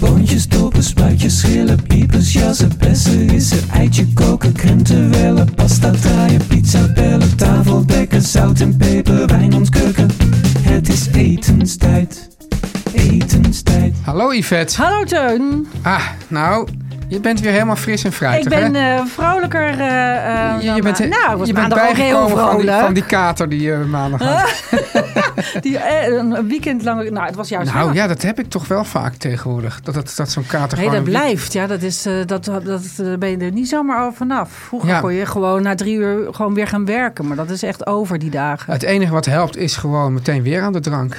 Boontjes, dopen, spuitjes, schillen, piepers, jassen, bessen, rissen, eitje koken, krenten wellen, pasta draaien, pizza bellen, tafel dekken, zout en peper, wijn ontkurken. Het is etenstijd, etenstijd. Hallo Yvette. Hallo Teun. Ah, nou, je bent weer helemaal fris en fruitig, ik ben hè? eh, vrolijker. eh, eh, Je- dan je bent, ma- nou, ik was je bent maandag ook heel bijgekomen van die, vrolijk. van die kater die je maandag had. Die, eh, een weekend lang. Nou, het was juist. Nou waar. ja, dat heb ik toch wel vaak tegenwoordig. Dat, dat, dat zo'n kater Nee, gewoon... dat een week- blijft. Ja, dat is, eh, dat, dat, eh, ben je er niet zomaar al vanaf. Vroeger Ja. kon je gewoon na drie uur gewoon weer gaan werken. Maar dat is echt over die dagen. Het enige wat helpt is gewoon meteen weer aan de drank.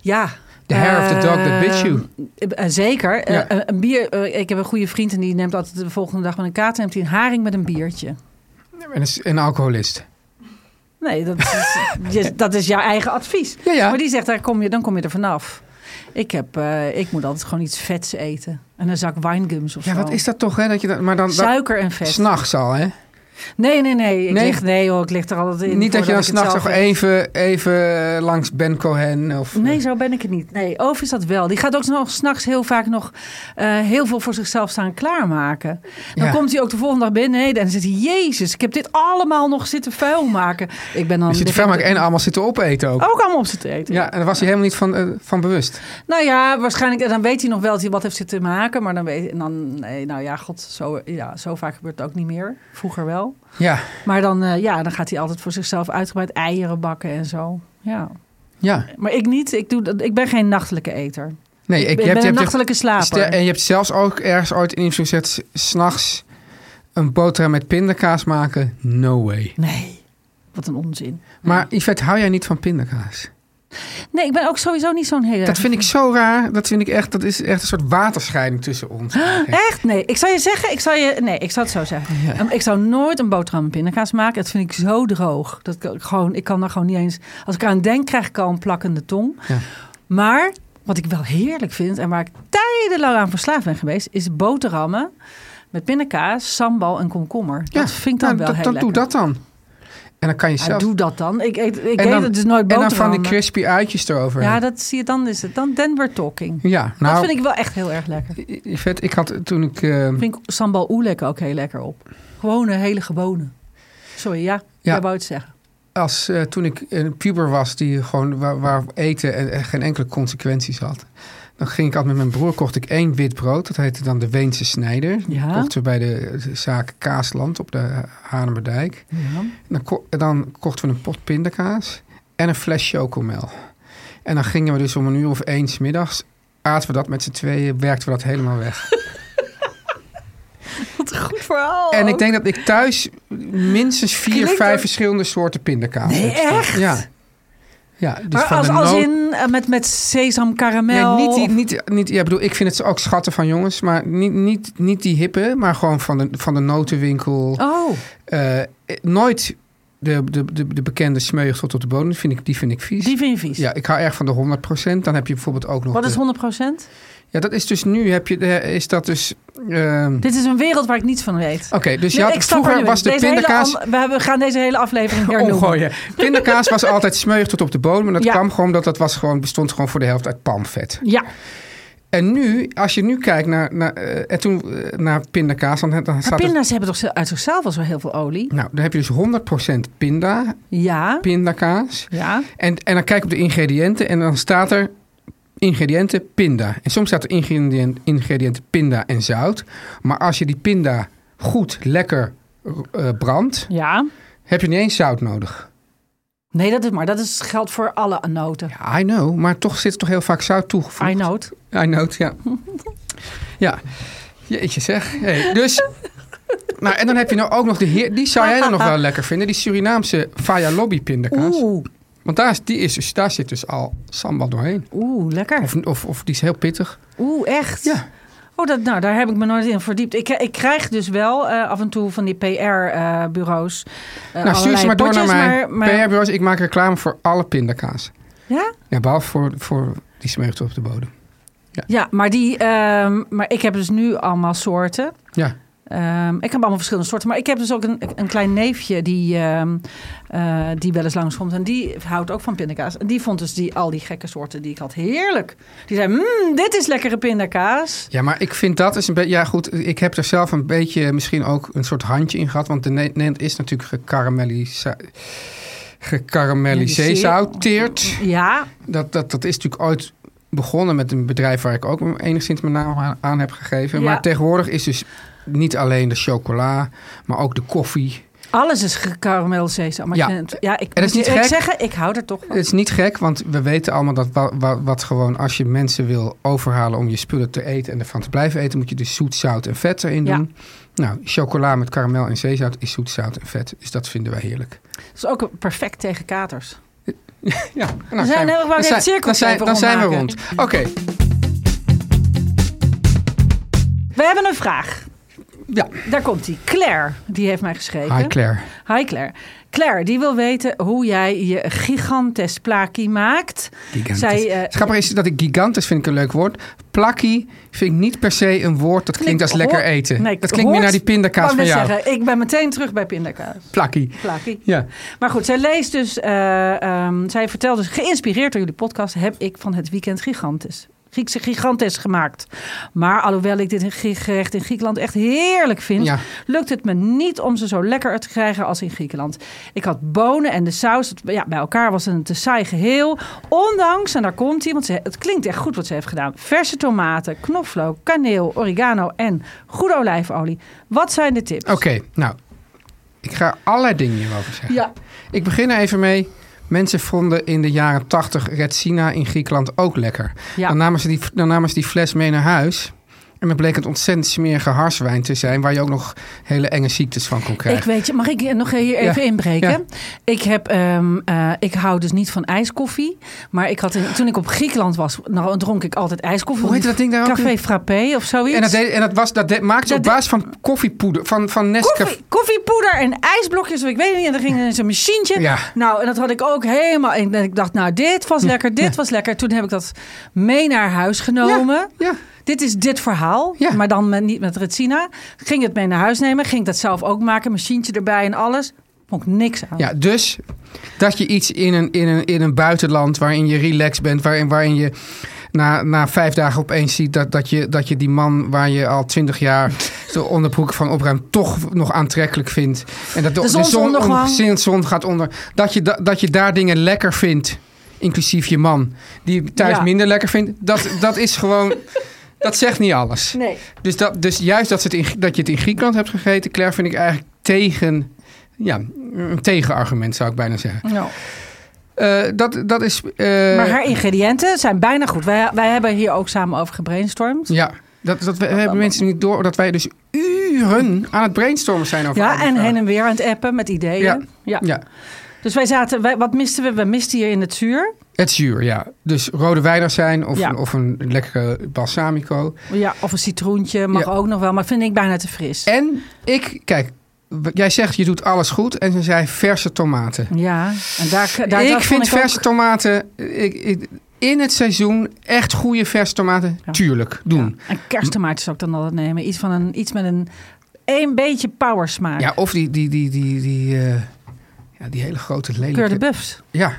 Ja. The hair of the dog that Eh, bit you. eh, zeker. Eh, Ja. een- een bier, eh, ik heb een goede vriend en die neemt altijd de volgende dag met een kater. Neemt hij een haring met een biertje. En is een alcoholist. Nee, dat is, je- dat is jouw eigen advies. Ja, ja. Maar die zegt, daar kom je, dan kom je er vanaf. Ik, heb, eh, ik moet altijd gewoon iets vets eten. En een zak winegums of Ja, zo. wat is dat toch, hè? Dat je dat, maar dan... dat- Suiker en vet. S'nachts al, hè? Nee, nee, nee. Ik Nee? Lig, nee hoor, ik lig er altijd in. Niet dat je dan voordat ik s'nachts het zelf nog eet. even, even eh, langs Ben Cohen of... eh, Nee, zo ben ik het niet. Nee, Oof is dat wel. Die gaat ook nog s'nachts heel vaak nog eh, heel veel voor zichzelf staan klaarmaken. Dan Ja. komt hij ook de volgende dag binnen en dan zegt hij... Jezus, ik heb dit allemaal nog zitten vuilmaken. Ik ben dan... Je zit ik Oh, ver heb maar en allemaal zitten opeten ook. Ook allemaal op zitten eten. Ja, en daar was hij helemaal niet van, eh, van bewust. Nou ja, waarschijnlijk. En dan weet hij nog wel dat hij wat heeft zitten maken. Maar dan weet en dan, nee, nou ja, god, zo, ja, zo vaak gebeurt het ook niet meer. Vroeger wel. Ja, Maar dan, eh, ja, dan gaat hij altijd voor zichzelf uitgebreid eieren bakken en zo. Ja. ja. Maar ik niet. Ik, doe, dat- ik ben geen nachtelijke eter. Nee, Ik, ik, je hebt- je ben een hebt echt- nachtelijke Stel- slaper. en je hebt zelfs ook ergens ooit in interview gezet... s- 's nachts een boterham met pindakaas maken? No way. Nee. Wat een onzin. Maar Yvette, hou jij niet van pindakaas? Nee, ik ben ook sowieso niet zo'n hele... Dat vind ik zo raar. Dat vind ik echt... Dat is echt een soort waterscheiding tussen ons. eigenlijk. Echt? Nee. Ik zou je zeggen, ik zou je... Nee, ik zou het zo zeggen. Ja. Um, Ik zou nooit een boterham met pindakaas maken. Dat vind ik zo droog. Dat ik, ook gewoon, ik kan daar gewoon niet eens... Als ik aan denk, krijg ik al een plakkende tong. Ja. Maar wat ik wel heerlijk vind... en waar ik tijdenlang aan verslaafd ben geweest... is boterhammen met pindakaas, sambal en komkommer. Ja, Dat vind ik dan nou, wel dat- heel dan lekker. Doe dat dan. En dan kan je Ja, zelf... doe dat dan. Ik, eet, ik en eet dan, het dus nooit En boterhammen. dan van die crispy uitjes erover. Ja, dat zie je dan is het. Dan Denver talking. Ja, nou... dat vind ik wel echt heel erg lekker. Yvette, ik had toen ik... eh, Ik vind sambal oelek ook heel lekker op. Gewoon een hele gewone. Sorry, ja. Ja. Jij wou het zeggen. als eh, toen ik een puber was die gewoon waar, waar eten en, en geen enkele consequenties had. Dan ging ik altijd met mijn broer, kocht ik één wit brood. Dat heette dan de Weense Snijder. Die Ja. kochten we bij de zaak Kaasland op de Hanemerdijk. En dan, ko- dan kochten we een pot pindakaas en een fles chocomel. En dan gingen we dus om een uur of één 's middags aten we dat met z'n tweeën, werkten we dat helemaal weg. Wat een goed verhaal. En ik denk dat ik thuis minstens vier, Oh. Klinkt vijf ook- verschillende soorten pindakaas Nee, heb staan. echt? Ja. Ja, dus maar van als, de als noot- in eh, met, met sesam karamel. Nee, niet die, of- niet, niet, ja, bedoel, ik vind het ook schatten van jongens, maar niet, niet, niet die hippe, maar gewoon van de, van de notenwinkel. Oh, Eh, eh, nooit de, de, de, de bekende smeuig tot op de bodem, vind ik, die vind ik vies. Die vind je vies. Ja, ik hou erg van de 100%. Dan heb je bijvoorbeeld ook nog... Wat is de- 100 Ja, dat is dus nu heb je... eh, Is dat dus... ehm, Dit is een wereld waar ik niets van weet. Oké, dus je Nee, had- ik snap er vroeger nu was in. de Deze hele pindakaas... am- we hebben- gaan deze hele aflevering hernoemen. Omgooien. Pindakaas was altijd smeuig tot op de bodem. En dat Ja. kwam gewoon omdat dat was gewoon, bestond gewoon voor de helft uit palmvet. Ja, En nu, als je nu kijkt naar, naar, eh, en toen, eh, naar pindakaas, dan, dan maar staat het- pinda's hebben toch zo- uit zichzelf al zo heel veel olie? Nou, dan heb je dus 100% pinda, Ja, pindakaas. ja. En, en dan kijk ik op de ingrediënten en dan staat er ingrediënten pinda. En soms staat er ingrediënt, ingrediënten pinda en zout. Maar als je die pinda goed, lekker eh, brandt, Ja. heb je niet eens zout nodig. Nee, dat is maar. Dat is, geldt voor alle noten. I know, maar toch zit er toch heel vaak zout toegevoegd. I note. I note, ja. ja. Jeetje zeg. Hey, dus... Nou, en dan heb je nou ook nog de heer... Die zou jij dan nog wel lekker vinden. Die Surinaamse Faya Lobby pindakaas. Oeh, Want daar, is, die is dus, daar zit dus al sambal doorheen. oeh, lekker. Of, of, of die is heel pittig. Oeh, echt? Ja. Oh, dat, nou, daar heb ik me nooit in verdiept. Ik, ik krijg dus wel eh, af en toe van die eh, PR-bureaus. nou, stuur ze maar door naar mij. eh, Maar, maar- PR-bureaus, ik maak reclame voor alle pindakaas. Ja? Ja, behalve voor, voor die smeugt op de bodem. ja, maar die. ehm, maar ik heb dus nu allemaal soorten. Ja. Ehm, ik heb allemaal verschillende soorten. Maar ik heb dus ook een, een klein neefje die, ehm, eh, die wel eens langskomt. En die houdt ook van pindakaas. En die vond dus die, al die gekke soorten die ik had heerlijk. Die zei, mmm, dit is lekkere pindakaas. Ja, maar ik vind dat is een beetje. Ja, goed. Ik heb er zelf een beetje misschien ook een soort handje in gehad. Want de Ne- Nederland is natuurlijk gekaramellisa- gekarameliseerd. Ja, Dat, dat, dat is natuurlijk ooit begonnen met een bedrijf waar ik ook enigszins mijn naam aan, aan heb gegeven. Ja. Maar tegenwoordig is dus niet alleen de chocola, maar ook de koffie. alles is gekaramel sesam. Maar Ja. ik, vind het- ja, ik En dat is moet niet eerlijk gek. Eh. zeggen, ik hou er toch van. Het is niet gek, want we weten allemaal dat wa- wa- wat gewoon als je mensen wil overhalen om je spullen te eten en ervan te blijven eten, moet je dus zoet, zout en vet erin Ja. doen. Nou, chocola met karamel en zeezout is zoet, zout en vet. Dus dat vinden wij heerlijk. Het is ook perfect tegen katers. Ja, nou, zijn we- we hebben dan het zijn- cirkeltje dan zijn, even dan zijn we rond. rondmaken. Oké, We hebben een vraag. ja. Daar komt die. Claire, die heeft mij geschreven. Hi Claire. Hi Claire. Claire, die wil weten hoe jij je gigantes plaki maakt. Gigantisch. Zij, eh, het grappige is dat ik gigantisch vind ik een leuk woord. Plakkie vind ik niet per se een woord dat klinkt als lekker hoor- eten. Nee, dat klinkt meer hoort- naar die pindakaas Ik van wou net jou. zeggen, ik ben meteen terug bij pindakaas. Plakkie. Plakkie. Ja. Maar goed, zij leest dus, eh, ehm, zij vertelt dus, geïnspireerd door jullie podcast heb ik van het weekend gigantisch. Griekse gigantes gemaakt. Maar alhoewel ik dit gerecht in Griekenland echt heerlijk vind, Ja. lukt het me niet om ze zo lekker te krijgen als in Griekenland. Ik had bonen en de saus, het- ja, bij elkaar was het een te saai geheel. Ondanks, en daar komt iemand, het klinkt echt goed wat ze heeft gedaan. Verse tomaten, knoflook, kaneel, oregano en goede olijfolie. Wat zijn de tips? Oké, nou. Ik ga allerlei dingen hierover zeggen. Ja, Ik begin er even mee. Mensen vonden in de jaren 80 Retsina in Griekenland ook lekker. Ja. Dan, namen ze die, dan namen ze die fles mee naar huis. En dan bleek het ontzettend smerige harswijn te zijn... waar je ook nog hele enge ziektes van kon krijgen. Ik weet je, mag ik hier nog hier even Ja, inbreken? Ik, heb, ehm, eh, ik hou dus niet van ijskoffie. Maar ik had, in- toen ik op Griekenland was, nou, dronk ik altijd ijskoffie. Hoe heet dat ding daar ook Café weer? Frappé of zoiets. En dat, deed- en dat, was, dat deed- maakte ze op Dat deed- basis van koffiepoeder, van, van Nescafé. Koffie, koffiepoeder en ijsblokjes, of ik weet niet. En dan ging er in zo'n machientje. Ja. Nou, en dat had ik ook helemaal. En ik dacht, nou, dit was lekker, dit was lekker. Toen heb ik dat mee naar huis genomen. ja. Dit is dit verhaal, Ja. maar dan met, niet met Retsina. Ging het mee naar huis nemen, ging ik dat zelf ook maken. Machientje erbij en alles. Vond ik niks aan. Ja, dus dat je iets in een, in een, in een buitenland waarin je relaxed bent, waarin, waarin je na, na vijf dagen opeens ziet dat, dat, je, dat je die man waar je al twintig jaar de onderbroek van opruimt, toch nog aantrekkelijk vindt. En dat de, De zonsondergang. ongezien zon gaat onder. Dat je, da- dat je daar dingen lekker vindt, inclusief je man, die je thuis Ja. minder lekker vindt, dat, dat is gewoon. Dat zegt niet alles. Nee. Dus, dat, dus juist dat, ze het in, dat je het in Griekenland hebt gegeten, Claire, vind ik eigenlijk tegen. Ja, een tegenargument zou ik bijna zeggen. Nou. Eh, dat, dat is. eh, Maar haar ingrediënten zijn bijna goed. Wij, wij hebben hier ook samen over gebrainstormd. Ja, Ja, dat, dat we, we hebben mensen niet door dat wij dus uren aan het brainstormen zijn over. al die en vragen. heen en weer aan het appen met ideeën. Ja. Ja. Ja, Dus wij zaten, wij, wat misten we? We misten hier in het zuur. het zuur, ja. Dus rode wijnazijn of, Ja. een, of een lekkere balsamico. Ja, of een citroentje mag Ja. ook nog wel, maar vind ik bijna te fris. En ik, kijk, w- jij zegt je doet alles goed en ze zei verse tomaten. Ja, en daar, daar dat ik vond vind ook- verse tomaten eh, ik, ik- in het seizoen echt goede verse tomaten. Ja. Tuurlijk, doen. Ja, en kersttomaat zou ik dan altijd nemen. Iets, van een, iets met een, een beetje power Ja, smaak. of die, die, die, die, die, eh, ja, die hele grote Keur de lelijke. buffs. Ja,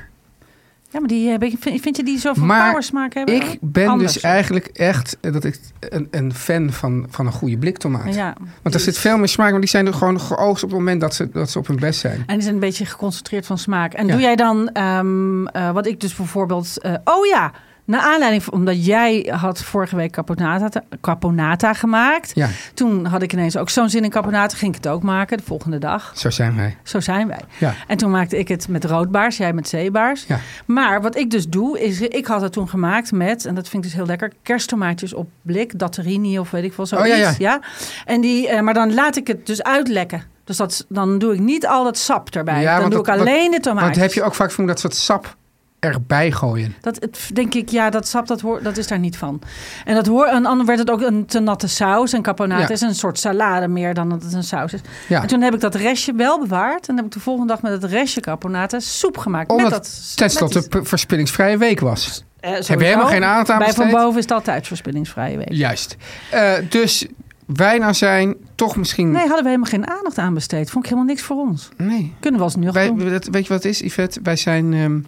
Ja, maar die, heb ik- vind, vind je die zo van Maar power smaak hebben? ik ben Anders. dus eigenlijk echt eh, dat ik een, een fan van, van een goede bliktomaat. Ja. Want er zit veel meer smaak, maar die zijn er gewoon geoogst op het moment dat ze, dat ze op hun best zijn. En die zijn een beetje geconcentreerd van smaak. En Ja. doe jij dan, ehm, eh, wat ik dus bijvoorbeeld... eh, oh ja, naar aanleiding van... Omdat jij had vorige week caponata, caponata gemaakt. Ja, Toen had ik ineens ook zo'n zin in caponata. Ging ik het ook maken de volgende dag. zo zijn wij. Zo zijn wij. Ja. En toen maakte ik het met roodbaars, jij met zeebaars. Ja. Maar wat ik dus doe, is ik had het toen gemaakt met, en dat vind ik dus heel lekker, kersttomaatjes op blik, datterini of weet ik veel, zoiets. Oh, ja, ja. En die, eh, maar dan laat ik het dus uitlekken. Dus dat, dan doe ik niet al dat sap erbij. Ja, dan want doe dat- ik alleen de Want tomaatjes. heb je ook vaak van dat soort sap erbij gooien. Dat het, denk ik, ja, dat sap, dat, hoor, dat is daar niet van. En dat hoor, en anders werd het ook een te natte saus. En caponata Ja. is een soort salade meer dan dat het een saus is. Ja. En toen heb ik dat restje wel bewaard. En heb ik de volgende dag met het restje caponata soep gemaakt. Omdat met dat, tenslotte met die- p- verspillingsvrije week was. eh, Heb je sowieso. helemaal geen aandacht aan Bij Van besteed? Boven is dat altijd verspillingsvrije week. Juist. Eh, dus wij nou zijn toch misschien... Nee, hadden we helemaal geen aandacht aan besteed. Vond ik helemaal niks voor ons. Nee. Kunnen we alsnog Wij, doen. dat- weet je wat het is, Yvette? Wij zijn ehm,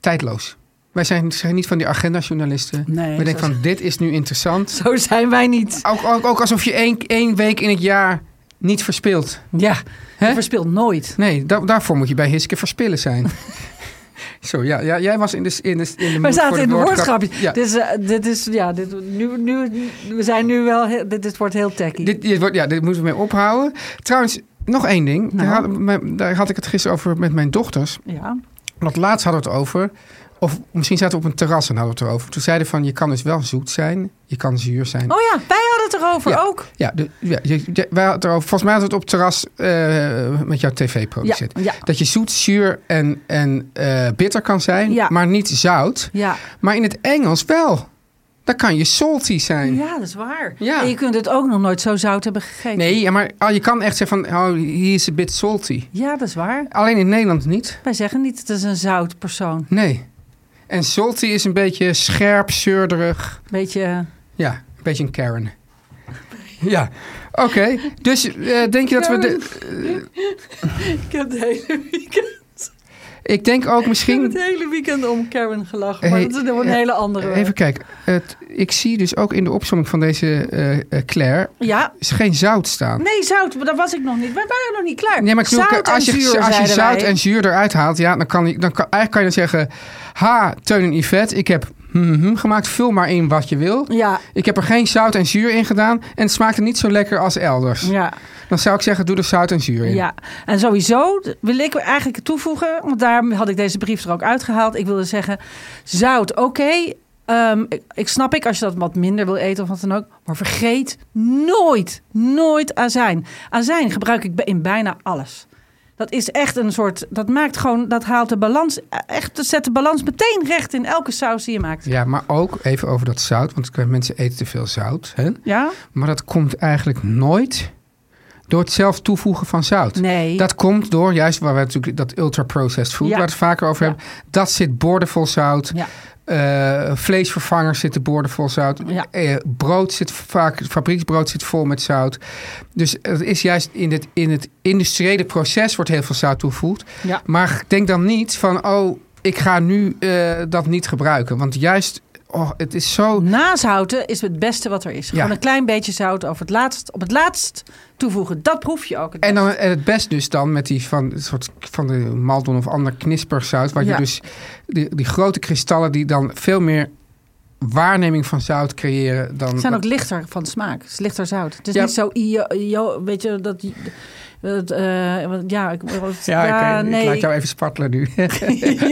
tijdloos. Wij zijn, zijn niet van die agendajournalisten. Nee, we denken zo- van, dit is nu interessant. Zo zijn wij niet. Ook, ook, ook alsof je één, één week in het jaar niet verspilt. Ja, Hè? je verspilt nooit. Nee, da- daarvoor moet je bij Hiske verspillen zijn. Zo, ja, ja, jij was in de... In de, in de We mood voor zaten de in de woordgrap. woordgrapje. Ja. Dit is, eh, dit is, ja, dit, nu, nu, we zijn nu wel, heel- dit, dit wordt heel techy. Dit, dit wordt, ja, dit moeten we mee ophouden. Trouwens, nog één ding. Nou. Daar, had, mijn- daar had ik het gisteren over met mijn dochters. ja. Want laatst hadden we het over... Of misschien zaten we op een terras en hadden we het erover. Toen zeiden we van, je kan dus wel zoet zijn. Je kan zuur zijn. Oh ja, wij hadden het erover Ja. Oh, ook. Ja, de, ja je- je- wij hadden het erover. Volgens mij hadden we het op het terras eh, met jouw Ja, tv-producent. ja. Dat je zoet, zuur en, en eh, bitter kan zijn, Ja. maar niet zout. Ja. Maar in het Engels wel. Dan kan je salty zijn. ja, dat is waar. Ja. En je kunt het ook nog nooit zo zout hebben gegeten. Nee, ja, maar oh, je kan echt zeggen van, oh, he is a bit salty. Ja, dat is waar. Alleen in Nederland niet. Wij zeggen niet, het is een zout persoon. Nee. En salty is een beetje scherp, zeurderig. Beetje, eh, Ja, een beetje een Karen. Ja, oké. Dus eh, denk je dat we... De, ik heb het hele weekend, ik denk ook ik heb misschien... het hele weekend om Karen gelachen. Maar Hey, dat is nog een eh, hele andere... Even kijken. Het, ik zie dus ook in de opzomming van deze eh, eh, Claire... Ja. is geen zout staan. Nee, zout, maar dat was ik nog niet. Wij waren nog niet klaar. Nee, maar ik bedoel, zout als je, en zuur, als je zeiden zout wij. en zuur eruit haalt... Ja, dan kan, ik- dan kan, eigenlijk kan je dan zeggen... Ha, Teun en Yvette, ik heb mhm gemaakt. Vul maar in wat je wil. Ja, Ik heb er geen zout en zuur in gedaan. En het smaakte niet zo lekker als elders. ja, Dan zou ik zeggen, doe er zout en zuur in. ja. En sowieso wil ik eigenlijk toevoegen, want daar had ik deze brief er ook uitgehaald. Ik wilde zeggen, zout, oké. ehm, ik, ik snap ik als je dat wat minder wil eten of wat dan ook. Maar vergeet nooit, nooit azijn. Azijn gebruik ik bij- in bijna alles. Dat is echt een soort, dat maakt gewoon, dat haalt de balans, echt, dat zet de balans meteen recht in elke saus die je maakt. Ja, maar ook even over dat zout. Want mensen eten te veel zout. Hè? Ja? Maar dat komt eigenlijk nooit door het zelf toevoegen van zout. Nee. Dat komt door, juist waar we natuurlijk dat ultra-processed food, Ja. waar we het vaker over Ja. hebben. Dat zit boordevol zout. Ja. Eh, vleesvervangers zitten boordevol zout. Ja. Eh, brood zit vaak, fabrieksbrood zit vol met zout. Dus het is juist in het, in het industriële proces wordt heel veel zout toegevoegd. Ja. Maar denk dan niet van, oh, ik ga nu eh, dat niet gebruiken. Want juist, oh, het is zo... Nazouten is het beste wat er is. Gewoon Ja. een klein beetje zout over het laatst, op het laatst toevoegen. Dat proef je ook. het En, dan, best. en het best dus dan met die van, een soort van de maldon of ander knisperzout. Waar je Ja. dus die, die grote kristallen die dan veel meer waarneming van zout creëren. Dan, Ze zijn ook lichter van smaak. Het is lichter zout. Het is Ja. niet zo... i- jo- weet je, dat... dat, eh, want ja, ik, ja, ik, eh, ik nee, laat jou even spartelen nu.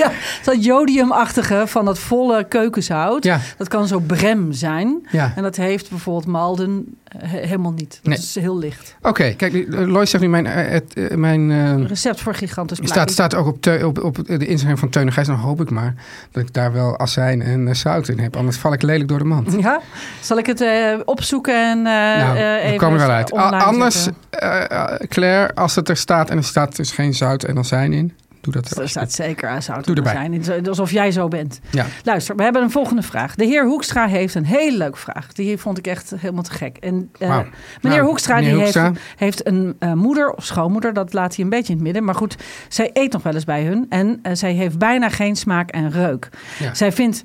ja, dat jodiumachtige van dat volle keukenzout. Ja. Dat kan zo brem zijn. Ja. En dat heeft bijvoorbeeld Malden eh, he- helemaal niet. Dat Nee. is heel licht. Oké, kijk, eh, Lois zegt nu mijn... eh, het, eh, mijn eh, Recept voor gigantisch staat, plaatje. staat ook op, Teu- op, op de Instagram van Teun en Gijs. Dan hoop ik maar dat ik daar wel azijn en eh, zout in heb. Anders val ik lelijk door de mand. Ja? Zal ik het eh, opzoeken en eh nou, eh, we even komen er wel uit. A- online anders, zetten? eh, eh, Claire, lekker als het er staat en er staat dus geen zout en azijn in. Doe dat er Dus Er staat zeker eh, aan zout Doe en erbij. azijn in. eh, Alsof jij zo bent. Ja. Luister, we hebben een volgende vraag. De heer Hoekstra heeft een hele leuke vraag. Die vond ik echt helemaal te gek. En, eh, Wauw. meneer Nou, Hoekstra, meneer die Hoekstra. Heeft, heeft een eh, moeder of schoonmoeder. Dat laat hij een beetje in het midden. Maar goed, zij eet nog wel eens bij hun. En eh, zij heeft bijna geen smaak en reuk. Ja. Zij vindt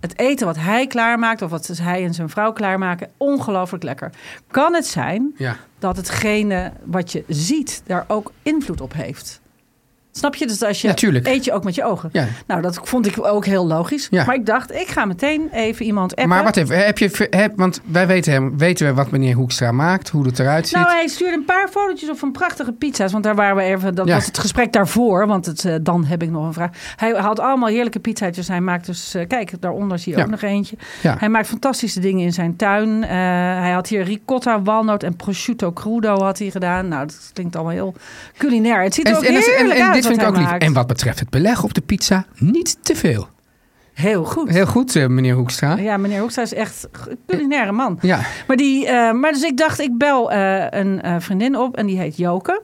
het eten wat hij klaarmaakt... of wat hij en zijn vrouw klaarmaken, ongelooflijk lekker. Kan het zijn Ja. dat hetgene wat je ziet daar ook invloed op heeft. Snap je? Dus als je Ja, tuurlijk. eet je ook met je ogen. Ja. Nou, dat vond ik ook heel logisch. Ja. Maar ik dacht, ik ga meteen even iemand appen. Maar wat even, heb je, heb, want wij weten, hem, weten we wat meneer Hoekstra maakt, hoe het eruit ziet. Nou, hij stuurde een paar fotootjes op van prachtige pizza's. Want daar waren we even. Dat Ja. was het gesprek daarvoor. Want het, eh, dan heb ik nog een vraag. Hij haalt allemaal heerlijke pizzaatjes. Hij maakt dus. eh, kijk, daaronder zie je Ja. ook nog eentje. Ja. Hij maakt fantastische dingen in zijn tuin. Eh, hij had hier ricotta, walnoot en prosciutto crudo had hij gedaan. Nou, dat klinkt allemaal heel culinair. Het ziet er ook dat is- heerlijk uit. dit wat vind ik hij ook lief. maakt. En wat betreft het beleg op de pizza, niet te veel. Heel goed. Heel goed, eh, meneer Hoekstra. Ja, meneer Hoekstra is echt een culinaire man. Ja. Maar, die, eh, maar dus ik dacht, ik bel eh, een eh, vriendin op en die heet Joke.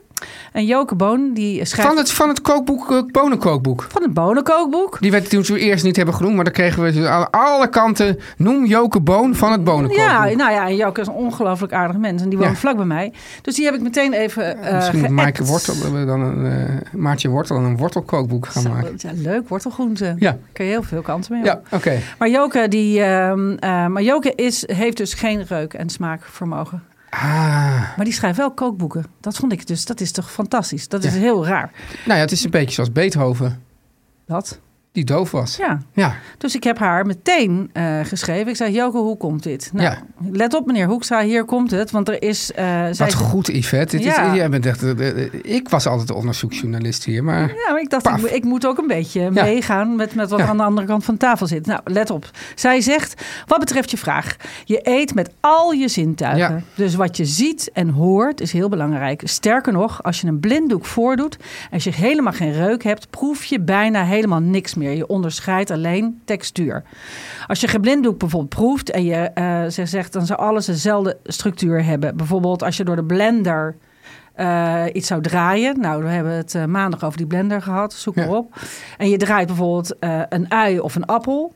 En Joke Boon, die schrijft Van het, van het kookboek, eh, bonenkookboek. van het bonenkookboek. Die we toen zo eerst niet hebben genoemd, maar dan kregen we ze aan alle kanten. Noem Joke Boon van het bonenkookboek. Ja, nou ja, en Joke is een ongelooflijk aardig mens. En die woont Ja. vlak bij mij. Dus die heb ik meteen even eh Misschien moet geappt. Maaike Wortel, eh, dan een, eh, Maartje Wortel dan een wortelkookboek gaan Zo, maken. ja, leuk, wortelgroente. Ja. Kun je heel veel kanten mee op. Ja, oké. Maar Joke, die, ehm, eh, maar Joke is, heeft dus geen reuk- en smaakvermogen. Ah. Maar die schrijft wel kookboeken. Dat vond ik dus, dat is toch fantastisch. Dat is Ja. heel raar. Nou ja, het is een beetje zoals Beethoven, Dat, die doof was. ja. Ja, Dus ik heb haar meteen eh, geschreven. Ik zei, Joke, hoe komt dit? Nou, Ja. let op meneer Hoekstra, hier komt het. Want er is... eh, zij wat goed Yvette. Dit Ja. is, jij bent echt, eh, eh, ik was altijd de onderzoeksjournalist hier, maar... Ja, maar ik dacht, ik, Paf. moet- ik moet ook een beetje meegaan met, met wat Ja. aan de andere kant van tafel zit. Nou, let op. Zij zegt, wat betreft je vraag, je eet met al je zintuigen. Ja. Dus wat je ziet en hoort is heel belangrijk. Sterker nog, als je een blinddoek voordoet, als je helemaal geen reuk hebt, proef je bijna helemaal niks meer. Je onderscheidt alleen textuur. Als je geen blinddoek bijvoorbeeld proeft en je eh, ze zegt, dan zou alles dezelfde structuur hebben. Bijvoorbeeld als je door de blender eh, iets zou draaien. Nou, we hebben het eh, maandag over die blender gehad. Zoek Ja. maar op. En je draait bijvoorbeeld eh, een ui of een appel.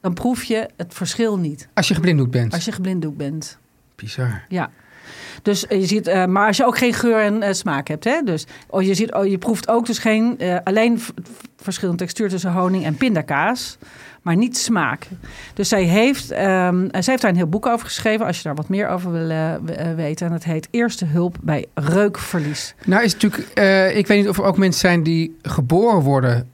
Dan proef je het verschil niet Als je geblinddoekt bent. als je geblinddoek bent. Bizar. Ja. Dus eh, je ziet, eh, maar als je ook geen geur en eh, smaak hebt, hè? Dus oh, je, ziet, oh, je proeft ook dus geen, eh, alleen v- v- verschil in textuur tussen honing en pindakaas, maar niet smaak. Dus zij heeft, ehm, eh, zij heeft daar een heel boek over geschreven, als je daar wat meer over wil eh, w- eh, weten. En dat heet Eerste Hulp bij Reukverlies. Nou is het natuurlijk, eh, ik weet niet of er ook mensen zijn die geboren worden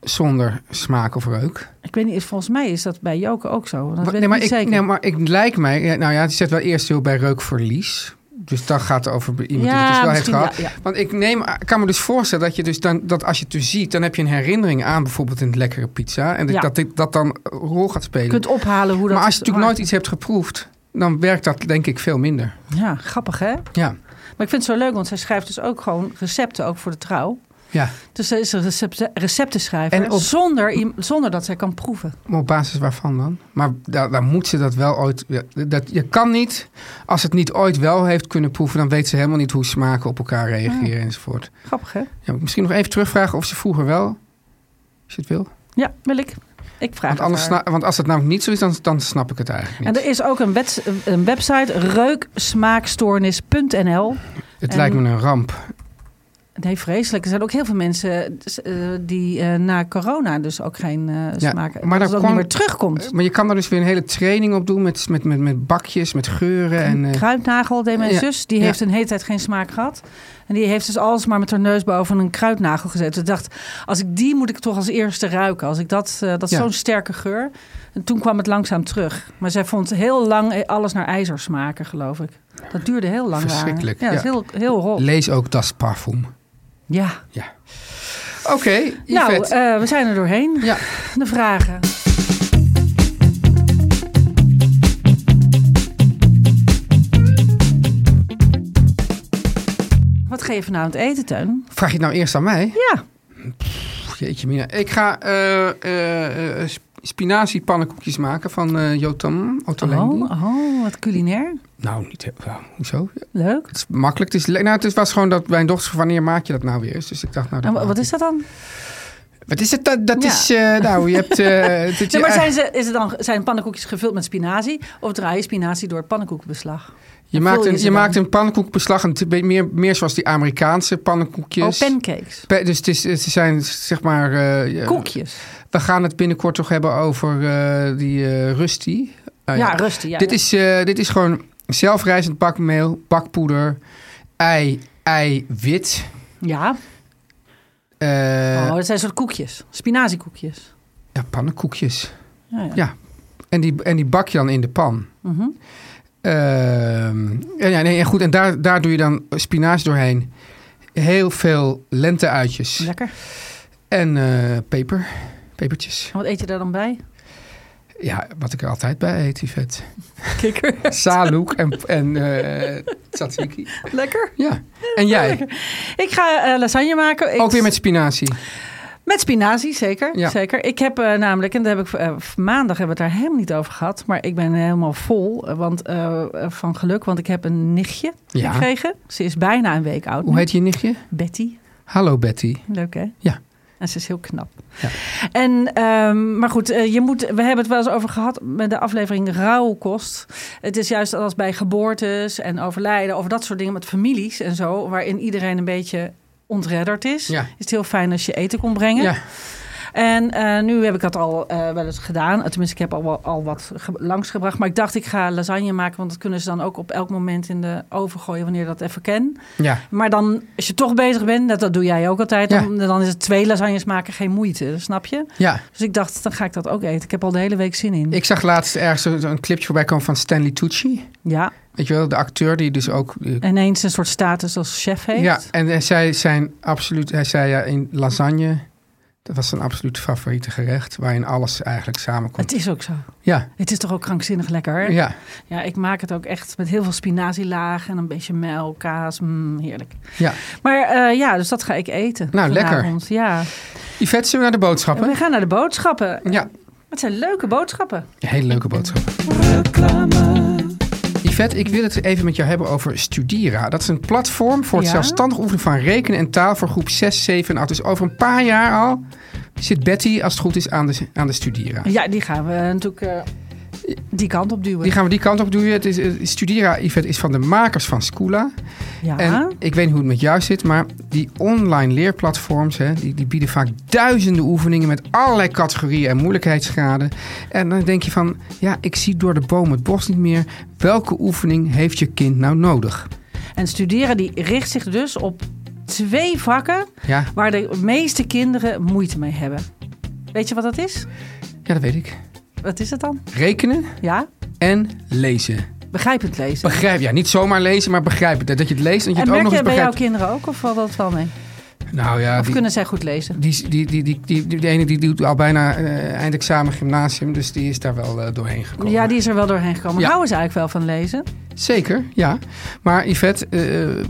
zonder smaak of reuk. Ik weet niet, is- volgens mij is dat bij Joke ook zo. Dat Wa- weet ik nee, maar niet ik, zeker. nee, maar ik lijkt mij, ja, nou ja, het zet wel eerst heel bij reukverlies. Dus dat gaat over iemand die het dus wel heeft misschien, gehad. ja, ja. Want ik neem, ik kan me dus voorstellen dat je dus dan, dat als je het dus ziet, dan heb je een herinnering aan bijvoorbeeld een lekkere pizza. En dat Ja. dat, dit- dat dan een rol gaat spelen. Je kunt ophalen hoe dat... maar als je natuurlijk nooit maakt. iets hebt geproefd, dan werkt dat denk ik veel minder. Ja, grappig hè? Ja, Maar ik vind het zo leuk, want zij schrijft dus ook gewoon recepten, ook voor de trouw. ja. Dus zij is een recepte- receptenschrijver En op- zonder, iem- zonder dat zij kan proeven. Maar op basis waarvan dan? Maar daar, daar moet ze dat wel ooit. ja, Dat, je kan niet, als het niet ooit wel heeft kunnen proeven, dan weet ze helemaal niet hoe smaken op elkaar reageren enzovoort. Grappig, hè? Ja, maar misschien nog even terugvragen of ze vroeger wel, als je het wil. Ja, wil ik. Ik vraag Want, het anders haar. sna- want als het namelijk niet zo is, dan, dan snap ik het eigenlijk En niet. er is ook een, wets- een website, reuksmaakstoornis.nl. het en- Eh, lijkt me een ramp. Nee, vreselijk. Er zijn ook heel veel mensen dus, eh, die eh, na corona dus ook geen eh Ja, smaak... maar dat dan het ook niet kwam- meer terugkomt. Maar je kan daar dus weer een hele training op doen met, met, met, met bakjes, met geuren. En, eh, Kruidnagel deed mijn ja, zus. Die ja. heeft een hele tijd geen smaak gehad. En die heeft dus alles maar met haar neus boven een kruidnagel gezet. Ik dacht, als ik die moet ik toch als eerste ruiken. Als ik dat, eh, dat is Ja. zo'n sterke geur. En toen kwam het langzaam terug. Maar zij vond heel lang alles naar ijzer smaken, geloof ik. Dat duurde heel lang. Verschrikkelijk, Ja, dat ja. is heel, heel rot. lees ook Das Parfum. ja. Ja. Oké, Nou, Yvette. eh, we zijn er doorheen. ja. De vragen. Wat ga je vanavond eten, Teun? Vraag je het nou eerst aan mij? Ja. Jeetje, Mina. Ik ga eh, eh, eh, sp- spinazie pannenkoekjes maken van eh, Jotam Ottolenghi. Oh, oh, wat culinair. Nou, niet heel... nou, hoezo? Leuk. Het is makkelijk. Het, is le- nou, het is- was gewoon dat mijn dochter zei, wanneer maak je dat nou weer eens? Dus ik dacht, nou... Dat En wa- maak wat ik. is dat dan? Wat is het? Dat, dat Ja. is... eh, nou, je hebt... eh, dat je Nee, maar eigen- zijn, ze, is het dan, zijn pannenkoekjes gevuld met spinazie? Of draai je spinazie door pannenkoekenbeslag? Je Vul maakt je een, ze je dan? maakt een pannenkoekbeslag, een t- meer, meer zoals die Amerikaanse pannenkoekjes. Oh, pancakes. Pa- dus het, is, het zijn zeg maar... eh, ja, Koekjes. We gaan het binnenkort toch hebben over eh, die eh, Rusty. Nou ja, rustig. Ja, dit, ja. Is, eh, dit is gewoon zelfrijzend bakmeel, bakpoeder, ei, eiwit. Ja. eh Oh, dat zijn soort koekjes. Spinaziekoekjes. Ja, pannenkoekjes. Ja, ja. Ja. En die, en die bak je dan in de pan. Mhm. Ehm, en, ja, nee, en goed, en daar, daar doe je dan spinazie doorheen. Heel veel lenteuitjes. Lekker. En eh, peper. Pepertjes. En wat eet je daar dan bij? Ja, wat ik er altijd bij eet, die vet. Kikker. Salouk en, en eh tzatziki. Lekker. Ja. En jij? Ik ga eh, lasagne maken. Ik- Ook weer met spinazie. Met spinazie, zeker. Ja. zeker. Ik heb eh, namelijk, en daar heb ik eh, v- maandag hebben we het daar helemaal niet over gehad, maar ik ben helemaal vol eh, want, eh, van geluk, want ik heb een nichtje Ja. gekregen. Ze is bijna een week oud. Hoe nu. heet je nichtje? Betty. Hallo Betty. Leuk hè? Ja. En ze is heel knap. Ja. En, ehm, maar goed, eh, je moet, we hebben het wel eens over gehad met de aflevering rouwkost. Het is juist als bij geboortes en overlijden, over dat soort dingen met families en zo, waarin iedereen een beetje ontredderd is. Ja. Is het heel fijn als je eten kon brengen. Ja. En eh, nu heb ik dat al eh, wel eens gedaan. Eh, Tenminste, ik heb al, wel- al wat ge- langsgebracht. Maar ik dacht, ik ga lasagne maken. Want dat kunnen ze dan ook op elk moment in de oven gooien. Wanneer dat even kan. Ja. Maar dan, als je toch bezig bent. Dat, dat doe jij ook altijd. Ja. Dan, dan is het twee lasagnes maken geen moeite. Snap je? Ja. Dus ik dacht, dan ga ik dat ook eten. Ik heb al de hele week zin in. Ik zag laatst ergens zo- zo'n clipje voorbij komen van Stanley Tucci. Ja, Weet je wel, de acteur die dus ook... eh, ineens een soort status als chef heeft. ja, en, en zij zijn absoluut... Hij zei ja, in lasagne... Dat was zijn absoluut favoriete gerecht, waarin alles eigenlijk samenkomt. Het is ook zo. Ja, Het is toch ook krankzinnig lekker. hè? ja, Ja, ik maak het ook echt met heel veel spinazielaag en een beetje mel, kaas. Mm, heerlijk. ja. Maar eh, ja, dus dat ga ik eten. Nou, lekker. vanavond. Ja. Yvette, zullen we naar de boodschappen? We gaan naar de boodschappen. Ja, Het zijn leuke boodschappen. hele leuke boodschappen. Yvette, ik wil het even met jou hebben over Studira. Dat is een platform voor het Ja? zelfstandig oefenen van rekenen en taal voor groep 6, 7 en 8. Dus over een paar jaar al zit Betty, als het goed is, aan de, aan de Studira. Ja, die gaan we natuurlijk eh, die kant op duwen. Die gaan we die kant op doen. Het is, eh, Studira, Yvette, is van de makers van Scula. ja. En ik weet niet hoe het met jou zit, maar die online leerplatforms, hè, die, die bieden vaak duizenden oefeningen met allerlei categorieën en moeilijkheidsgraden. En dan denk je van, ja, ik zie door de boom het bos niet meer. Welke oefening heeft je kind nou nodig? en studeren die richt zich dus op twee vakken Ja, waar de meeste kinderen moeite mee hebben. Weet je wat dat is? ja dat weet ik. Wat is het dan? Rekenen Ja, en lezen. begrijpend lezen. Begrijp, ja, niet zomaar lezen, maar begrijpen. Dat dat je het leest en dat Oh, je en het ook merk nog jij eens bij jouw begrijpt. kinderen ook of valt dat wel mee? Nou ja, Of die- kunnen zij goed lezen? Die, die, die, die, die, die ene die doet al bijna eh, eindexamen gymnasium, dus die is daar wel eh, doorheen gekomen. Ja, die is er wel doorheen gekomen. Ja. Houden ze eigenlijk wel van lezen? Zeker, ja. Maar Yvette, eh,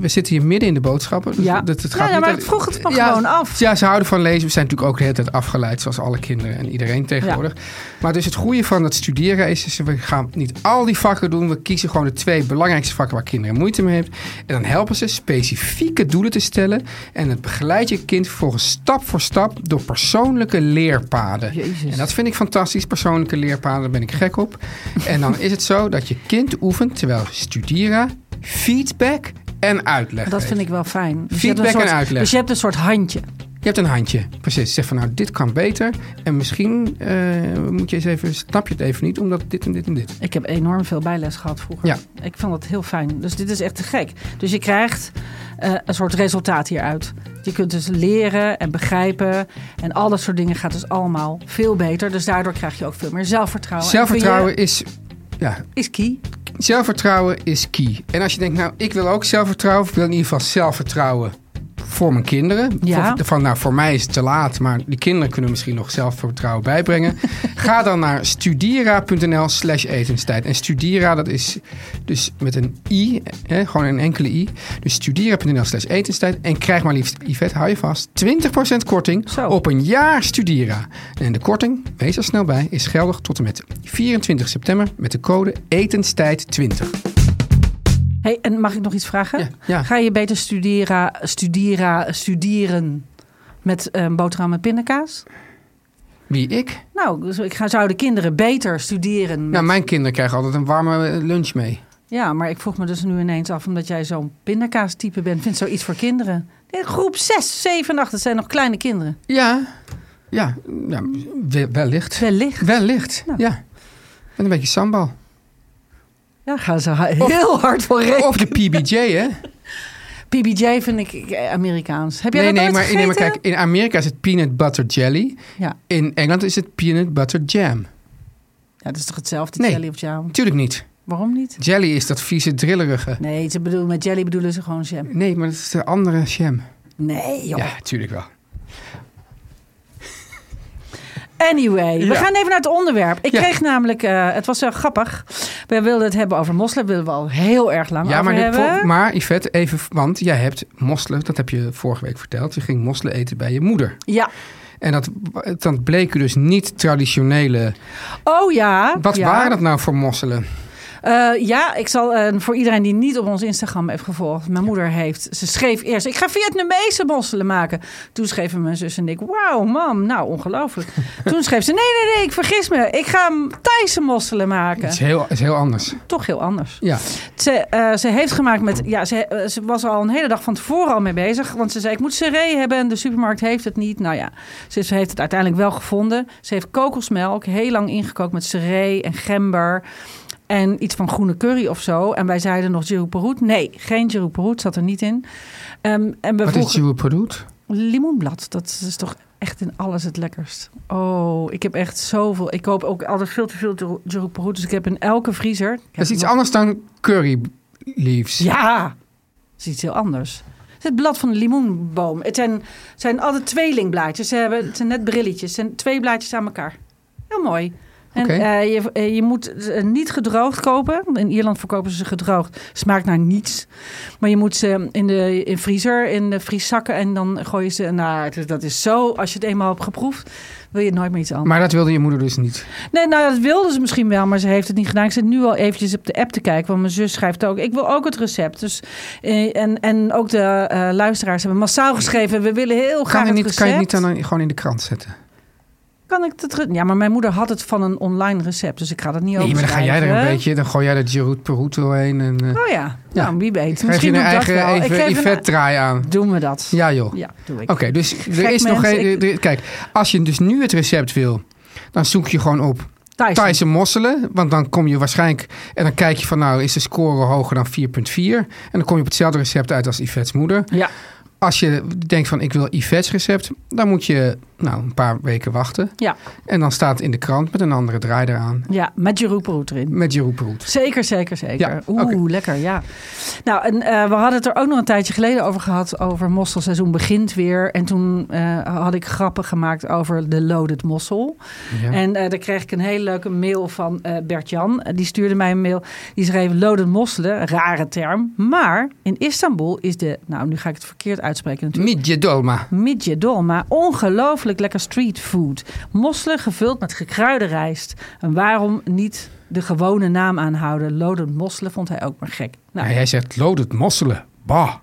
we zitten hier midden in de boodschappen. Dus Ja. dat, het Ja, gaat ja, niet maar dat- ik vroeg het van ja, gewoon af. Ja, ze houden van lezen. We zijn natuurlijk ook de hele tijd afgeleid, zoals alle kinderen en iedereen tegenwoordig. Maar dus het goede van het studeren is, is, we gaan niet al die vakken doen. We kiezen gewoon de twee belangrijkste vakken waar kinderen moeite mee hebben. En dan helpen ze specifieke doelen te stellen. En het begeleidt je kind volgens stap voor stap door persoonlijke leerpaden. Jezus. En dat vind ik fantastisch, persoonlijke leerpaden, daar ben ik gek op. En dan is het zo dat je kind oefent terwijl Studira feedback en uitleg Dat vind geeft. ik wel fijn. Dus je hebt Feedback een soort, en uitleg. Dus je hebt een soort handje. Je hebt een handje, precies. Zeg van nou, dit kan beter en misschien eh, moet je eens even, snap je het even niet, omdat dit en dit en dit. Ik heb enorm veel bijles gehad vroeger. Ja. Ik vond dat heel fijn. Dus dit is echt te gek. Dus je krijgt eh, een soort resultaat hieruit. Je kunt dus leren en begrijpen. En al dat soort dingen gaat dus allemaal veel beter. Dus daardoor krijg je ook veel meer zelfvertrouwen. En Zelfvertrouwen vind is, ja, je- is key. zelfvertrouwen is key. En als je denkt, nou, ik wil ook zelfvertrouwen, of ik wil in ieder geval zelfvertrouwen voor mijn kinderen. Ja. Voor- van, nou, voor mij is het te laat, maar die kinderen kunnen misschien nog zelfvertrouwen bijbrengen. Ga dan naar studira.nl slash etenstijd. En studira, dat is dus met een i, hè, gewoon een enkele i. Dus studira.nl slash etenstijd. En krijg maar liefst, Yvette, hou je vast, 20% korting Zo. op een jaar Studira. En de korting, wees er snel bij, is geldig tot en met 24 september met de code etenstijd20. Hey, en mag ik nog iets vragen? Ja, ja. Ga je beter studeren, studeren, studeren met eh, boterham en pindakaas? Wie ik? Nou, dus ik ga, zou de kinderen beter studeren. met- Nou, mijn kinderen krijgen altijd een warme eh, lunch mee. Ja, maar ik vroeg me dus nu ineens af, omdat jij zo'n pindakaastype bent, vindt zoiets voor kinderen? Nee, Groep 6, 7 en 8, dat zijn nog kleine kinderen. Ja, ja, ja we- wellicht. Wellicht. Wellicht, ja. En een beetje sambal. Ja, gaan ze ha- heel hard voor rekenen. Of de PBJ, hè? PBJ vind ik eh, Amerikaans. Heb jij Nee, dat nee, nooit maar, nee, maar gegeten? kijk, in Amerika is het peanut butter jelly. Ja. In Engeland is het peanut butter jam. ja, dat is toch hetzelfde, Nee. jelly of jam? Natuurlijk niet. Waarom niet? Jelly is dat vieze, drillerige. Nee, ze bedoelen, met jelly bedoelen ze gewoon jam. Nee, maar dat is de andere jam. Nee, joh. Ja, tuurlijk wel. Anyway, we Ja. gaan even naar het onderwerp. Ik Ja. kreeg namelijk, eh, het was wel grappig. We wilden het hebben over moslim, wilden we al heel erg lang Ja, over maar, dit hebben. vol- maar Yvette, even, want jij hebt mosselen, dat heb je vorige week verteld. Je ging mosselen eten bij je moeder. Ja. En dat, dan bleken dus niet traditionele. Oh ja. Wat ja. waren dat nou voor mosselen? Eh, ja, ik zal eh, voor iedereen die niet op ons Instagram heeft gevolgd. Mijn moeder heeft, ze schreef eerst, ik ga Vietnamese mosselen maken. Toen schreven mijn zus en ik, wauw mam, nou ongelooflijk. Toen schreef ze, nee, nee, nee, ik vergis me. Ik ga Thaise mosselen Het is maken. heel, is heel anders. Toch heel anders. Ja. Ze, eh, ze heeft gemaakt met. Ja, ze, eh, ze was al een hele dag van tevoren al mee bezig. Want ze zei: Ik moet seree hebben en de supermarkt heeft het niet. Nou ja, ze, ze heeft het uiteindelijk wel gevonden. Ze heeft kokosmelk heel lang ingekookt met seree en gember. En iets van groene curry of zo. En wij zeiden nog Jeroen Peroet. Nee, geen Jeroen Peroet zat er niet in. Ehm, en we Wat is vroegen jouw product? limoenblad. Dat is toch echt in alles het lekkerst. Oh, ik heb echt zoveel. Ik koop ook altijd veel te veel Jeroen Peroet. Dus ik heb in elke vriezer. Ik heb Dat is iets nog- anders dan curry leaves. ja, dat is iets heel anders. Het is het blad van de limoenboom. Het zijn, zijn altijd tweelingblaadjes. Ze hebben, het zijn net brilletjes. Het zijn twee blaadjes aan elkaar. Heel mooi. En Oké. eh, je, eh, je moet ze niet gedroogd kopen. In Ierland verkopen ze ze gedroogd. Smaakt naar niets. Maar je moet ze in de in vriezer, in de vrieszakken. En dan gooi je ze... Nou, het is- dat is zo. Als je het eenmaal hebt geproefd, wil je het nooit meer iets anders. Maar dat wilde je moeder dus niet. Nee, nou, dat wilde ze misschien wel, maar ze heeft het niet gedaan. Ik zit nu al eventjes op de app te kijken, want mijn zus schrijft ook. Ik wil ook het recept. Dus, eh, en, en ook de eh, luisteraars hebben massaal geschreven. We willen heel graag Kan je, het niet, recept. kan je het niet dan een- gewoon in de krant zetten? Kan ik dat... re- Ja, maar mijn moeder had het van een online recept, dus ik ga dat niet Nee, maar dan ga jij er een overschrijven. beetje, dan gooi jij dat Jeroet Peroet doorheen. En, eh Oh ja, Ja. nou, wie weet. krijg je Misschien een doe ik dat eigen wel. ik even geef een- e- Yvette-draai aan. Doen we dat? Ja joh. Ja, doe ik. Oké, dus er is mens, nog een, ik- er- er- Kijk, als je dus nu het recept wil, dan zoek je gewoon op Tyson. Thaise mosselen. Want dan kom je waarschijnlijk... En dan kijk je van, nou, is de score hoger dan 4,4? En dan kom je op hetzelfde recept uit als Yvette's moeder. Ja. Als je denkt van, ik wil Yvette's recept... dan moet je, nou, een paar weken wachten. Ja, En dan staat het in de krant met een andere draai eraan. ja, met Jeroen Peroet erin. Met Jeroen Peroet. Zeker, zeker, zeker. Ja, Oeh, oké. lekker, ja. Nou, en eh, we hadden het er ook nog een tijdje geleden over gehad. Over mosselseizoen begint weer. En toen eh, had ik grappen gemaakt over de loaded mossel. Ja. En eh, daar kreeg ik een hele leuke mail van eh Bert-Jan. Eh, die stuurde mij een mail. Die schreef loaded mosselen, een rare term. Maar in Istanbul is de... Nou, nu ga ik het verkeerd uitspreken natuurlijk. Midje Nou, Dolma. Midje dolma, ongelooflijk lekker streetfood. Mosselen gevuld met gekruide rijst. En waarom niet de gewone naam aanhouden? Lodend mosselen vond hij ook maar gek. Nou, Nou, hij zegt, loaded mosselen. Bah.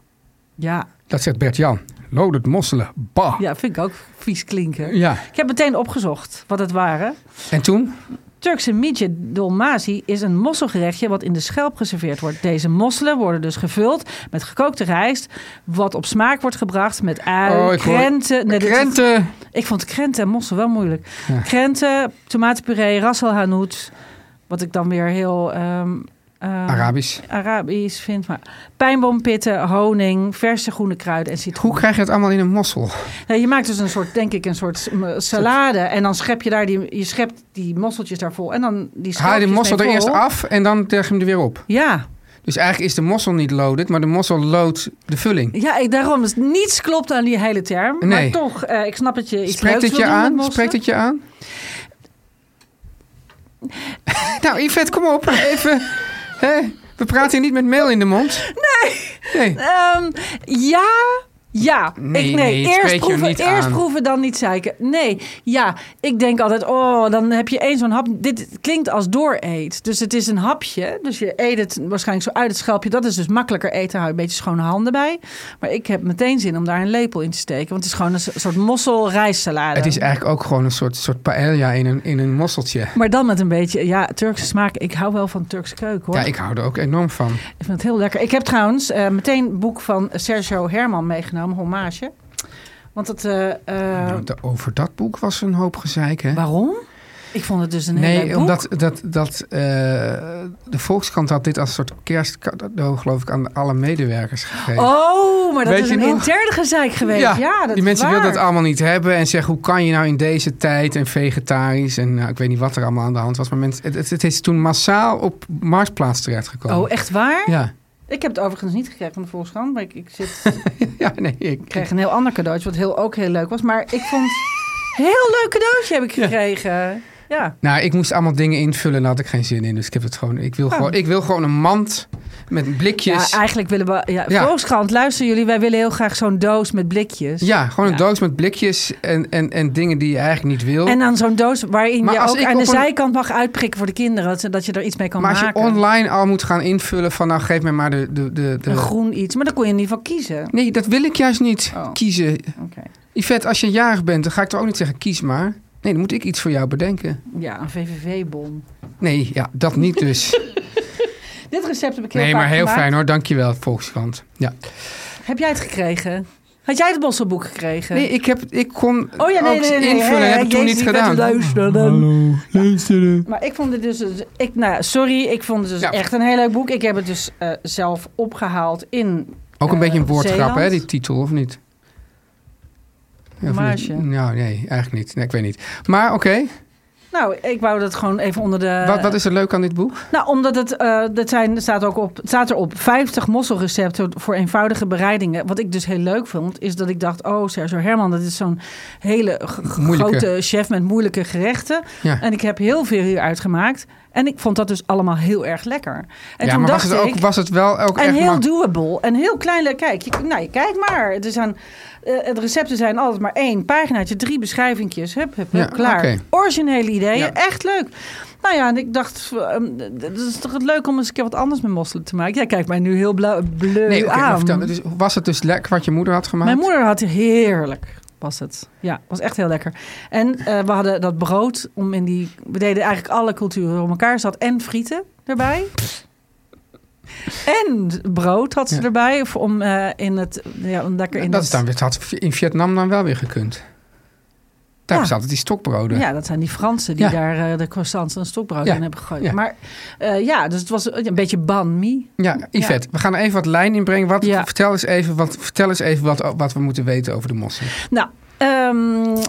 ja, Dat zegt Bert-Jan. Loaded mosselen. Bah. ja, vind ik ook vies klinken. Ja. Ik heb meteen opgezocht wat het waren. En toen? Turkse midje dolmazi is een mosselgerechtje wat in de schelp geserveerd wordt. Deze mosselen worden dus gevuld met gekookte rijst, wat op smaak wordt gebracht met ui, Oh, ik hoor- krenten. Nee, dit is- Ah. Krenten. Ik vond krenten en mossel wel moeilijk. Krenten, tomatenpuree, rassel hanout. Wat ik dan weer heel ehm, ehm, Arabisch. Arabisch vind. Maar pijnboompitten, honing, verse groene kruiden en citroen. Hoe krijg je het allemaal in een mossel? Nou, je maakt dus een soort, denk ik, een soort mm, salade. En dan schep je daar die, je schept die mosseltjes daar vol. En dan die Haal je de schelpjes mossel mee er eerst vol. af en dan leg je hem er weer op. Ja. Dus eigenlijk is de mossel niet loaded, maar de mossel loodt de vulling. Ja, ik, daarom. Dus niets klopt aan die hele term. Nee. Maar toch, eh, ik snap dat je iets Spreekt leuks het wil je doen met aan? mossen. Spreekt het je aan? nou, Yvette, kom op. Even. Hè? We praten hier niet met meel in de mond. Nee. Nee. Ehm, ja, ja. Nee, ik, nee, het spreekt eerst je proeven, niet eerst aan. proeven, dan niet zeiken. Nee, ja. Ik denk altijd, oh, dan heb je één zo'n hap. Dit klinkt als dooreet. Dus het is een hapje. Dus je eet het waarschijnlijk zo uit het schelpje. Dat is dus makkelijker eten. Hou je een beetje schone handen bij. Maar ik heb meteen zin om daar een lepel in te steken. Want het is gewoon een so- soort mossel rijstsalade. Het is e- eigenlijk ook gewoon een soort, soort paella in een, in een mosseltje. maar dan met een beetje, ja, Turkse smaak. Ik hou wel van Turkse keuken, hoor. Ja, ik hou er ook enorm van. Ik vind het heel lekker. Ik heb trouwens eh, meteen een boek van Sergio Herman meegenomen, Hommage. Want het. eh, eh, Nou, de- over dat boek was een hoop gezeik, hè? waarom? Ik vond het dus een heel leuk Nee, boek. omdat dat, dat, eh, de Volkskrant had dit als soort kerstcadeau, geloof ik, aan alle medewerkers gegeven. Oh, maar dat Weet is je een nog? interne gezeik geweest. Ja, dat die is mensen waar. wilden dat allemaal niet hebben en zeggen hoe kan je nou in deze tijd en vegetarisch en nou, ik weet niet wat er allemaal aan de hand was, maar mensen, het, het, het is toen massaal op Marktplaats terechtgekomen. Oh, echt waar? Ja, Ik heb het overigens niet gekregen van de Volkskrant, maar ik, ik, zit, ja, nee, ik, ik kreeg een heel ander cadeautje, wat heel, ook heel leuk was. Maar ik vond een heel leuk cadeautje heb ik gekregen. Ja. nou, ik moest allemaal dingen invullen en daar had ik geen zin in, dus ik heb het gewoon. Ik wil gewoon, ik wil gewoon een mand met Oh. Ja, blikjes. Ja, eigenlijk willen we... Ja, Ja. Volkskrant, luister jullie, wij willen heel graag zo'n doos met blikjes. gewoon een Ja. doos met blikjes en, en, en dingen die je eigenlijk niet wil. En dan zo'n doos waarin Maar je als ook ik aan de op een- zijkant mag uitprikken voor de kinderen. Zodat je er iets mee kan maar als je maken. online al moet gaan invullen van nou geef mij maar de... de, de, de- Een groen iets. Maar dan kon je in ieder geval kiezen. Nee, dat wil ik juist niet Oh. kiezen. Oké. Yvette, als je jarig bent, dan ga ik toch ook niet zeggen kies maar. Nee, dan moet ik iets voor jou bedenken. Ja, een VVV-bon. Nee, ja, dat niet dus. Dit recept heb ik heel nee, vaak maar heel gemaakt. fijn hoor. Dankjewel, Volkskrant. Ja. Heb jij het gekregen? Had jij het Mosselboek gekregen? Nee, ik, heb, ik kon Oh ja, nee, ook nee, nee. invullen hè, en heb ik toen Jezus, niet je bent gedaan. een luisteraar. luisteren. Maar ik vond het dus... Ik, nou, ja, sorry, ik vond het dus Ja. echt een heel leuk boek. Ik heb het dus eh, zelf opgehaald in... Ook een Eh, beetje een woordgrap, Zeeland? hè, die titel, of niet? Ja, of Marge. niet? Nou, nee, eigenlijk niet. Nee, ik weet niet. Maar oké, Nou, ik wou dat gewoon even onder de... wat, wat is er leuk aan dit boek? Nou, omdat het, eh dat zijn, er staat, ook op, het staat erop 50 mosselrecepten voor eenvoudige bereidingen. Wat ik dus heel leuk vond, is dat ik dacht: oh, Sergio Herman, dat is zo'n hele g- g- Moeilijke. grote chef met moeilijke gerechten. Ja. En ik heb heel veel hieruit gemaakt. En ik vond dat dus allemaal heel erg lekker. En ja, toen maar was dacht het, ook, ik. was het wel ook en echt... heel mak- doable. En heel klein. le- Kijk, je, nou, je kijkt maar. Het, is aan, eh, het recepten zijn altijd maar één paginaatje, drie beschrijvingjes. Hup, hup, hup, Ja, klaar. oké. Originele ideeën, Ja. echt leuk. Nou ja, en ik dacht, ehm, het is toch het leuk om eens een keer wat anders met mosselen te maken. Jij kijkt mij nu heel blauw, bleu Nee, oké, maar aan. vertel, dus was het dus lekker wat je moeder had gemaakt? Mijn moeder had heerlijk, was het. Ja, was echt heel lekker. En eh, we hadden dat brood om in die... We deden eigenlijk alle culturen om elkaar. Zat en frieten erbij. En brood had ze Ja. erbij voor- om eh, in het... Ja, om lekker in dat is dan, weer- het had in Vietnam dan wel weer gekund. Daar Ja. zaten die stokbroden. Ja, dat zijn die Fransen die Ja. daar eh, de croissants en stokbrood Ja. in hebben gegooid. Ja. Maar eh, ja, dus het was een beetje ban mi. Ja, Yvette, we gaan er even wat lijn in brengen. Wat, Ja. vertel eens even, wat, vertel eens even wat, wat we moeten weten over de mossel. Nou, ehm,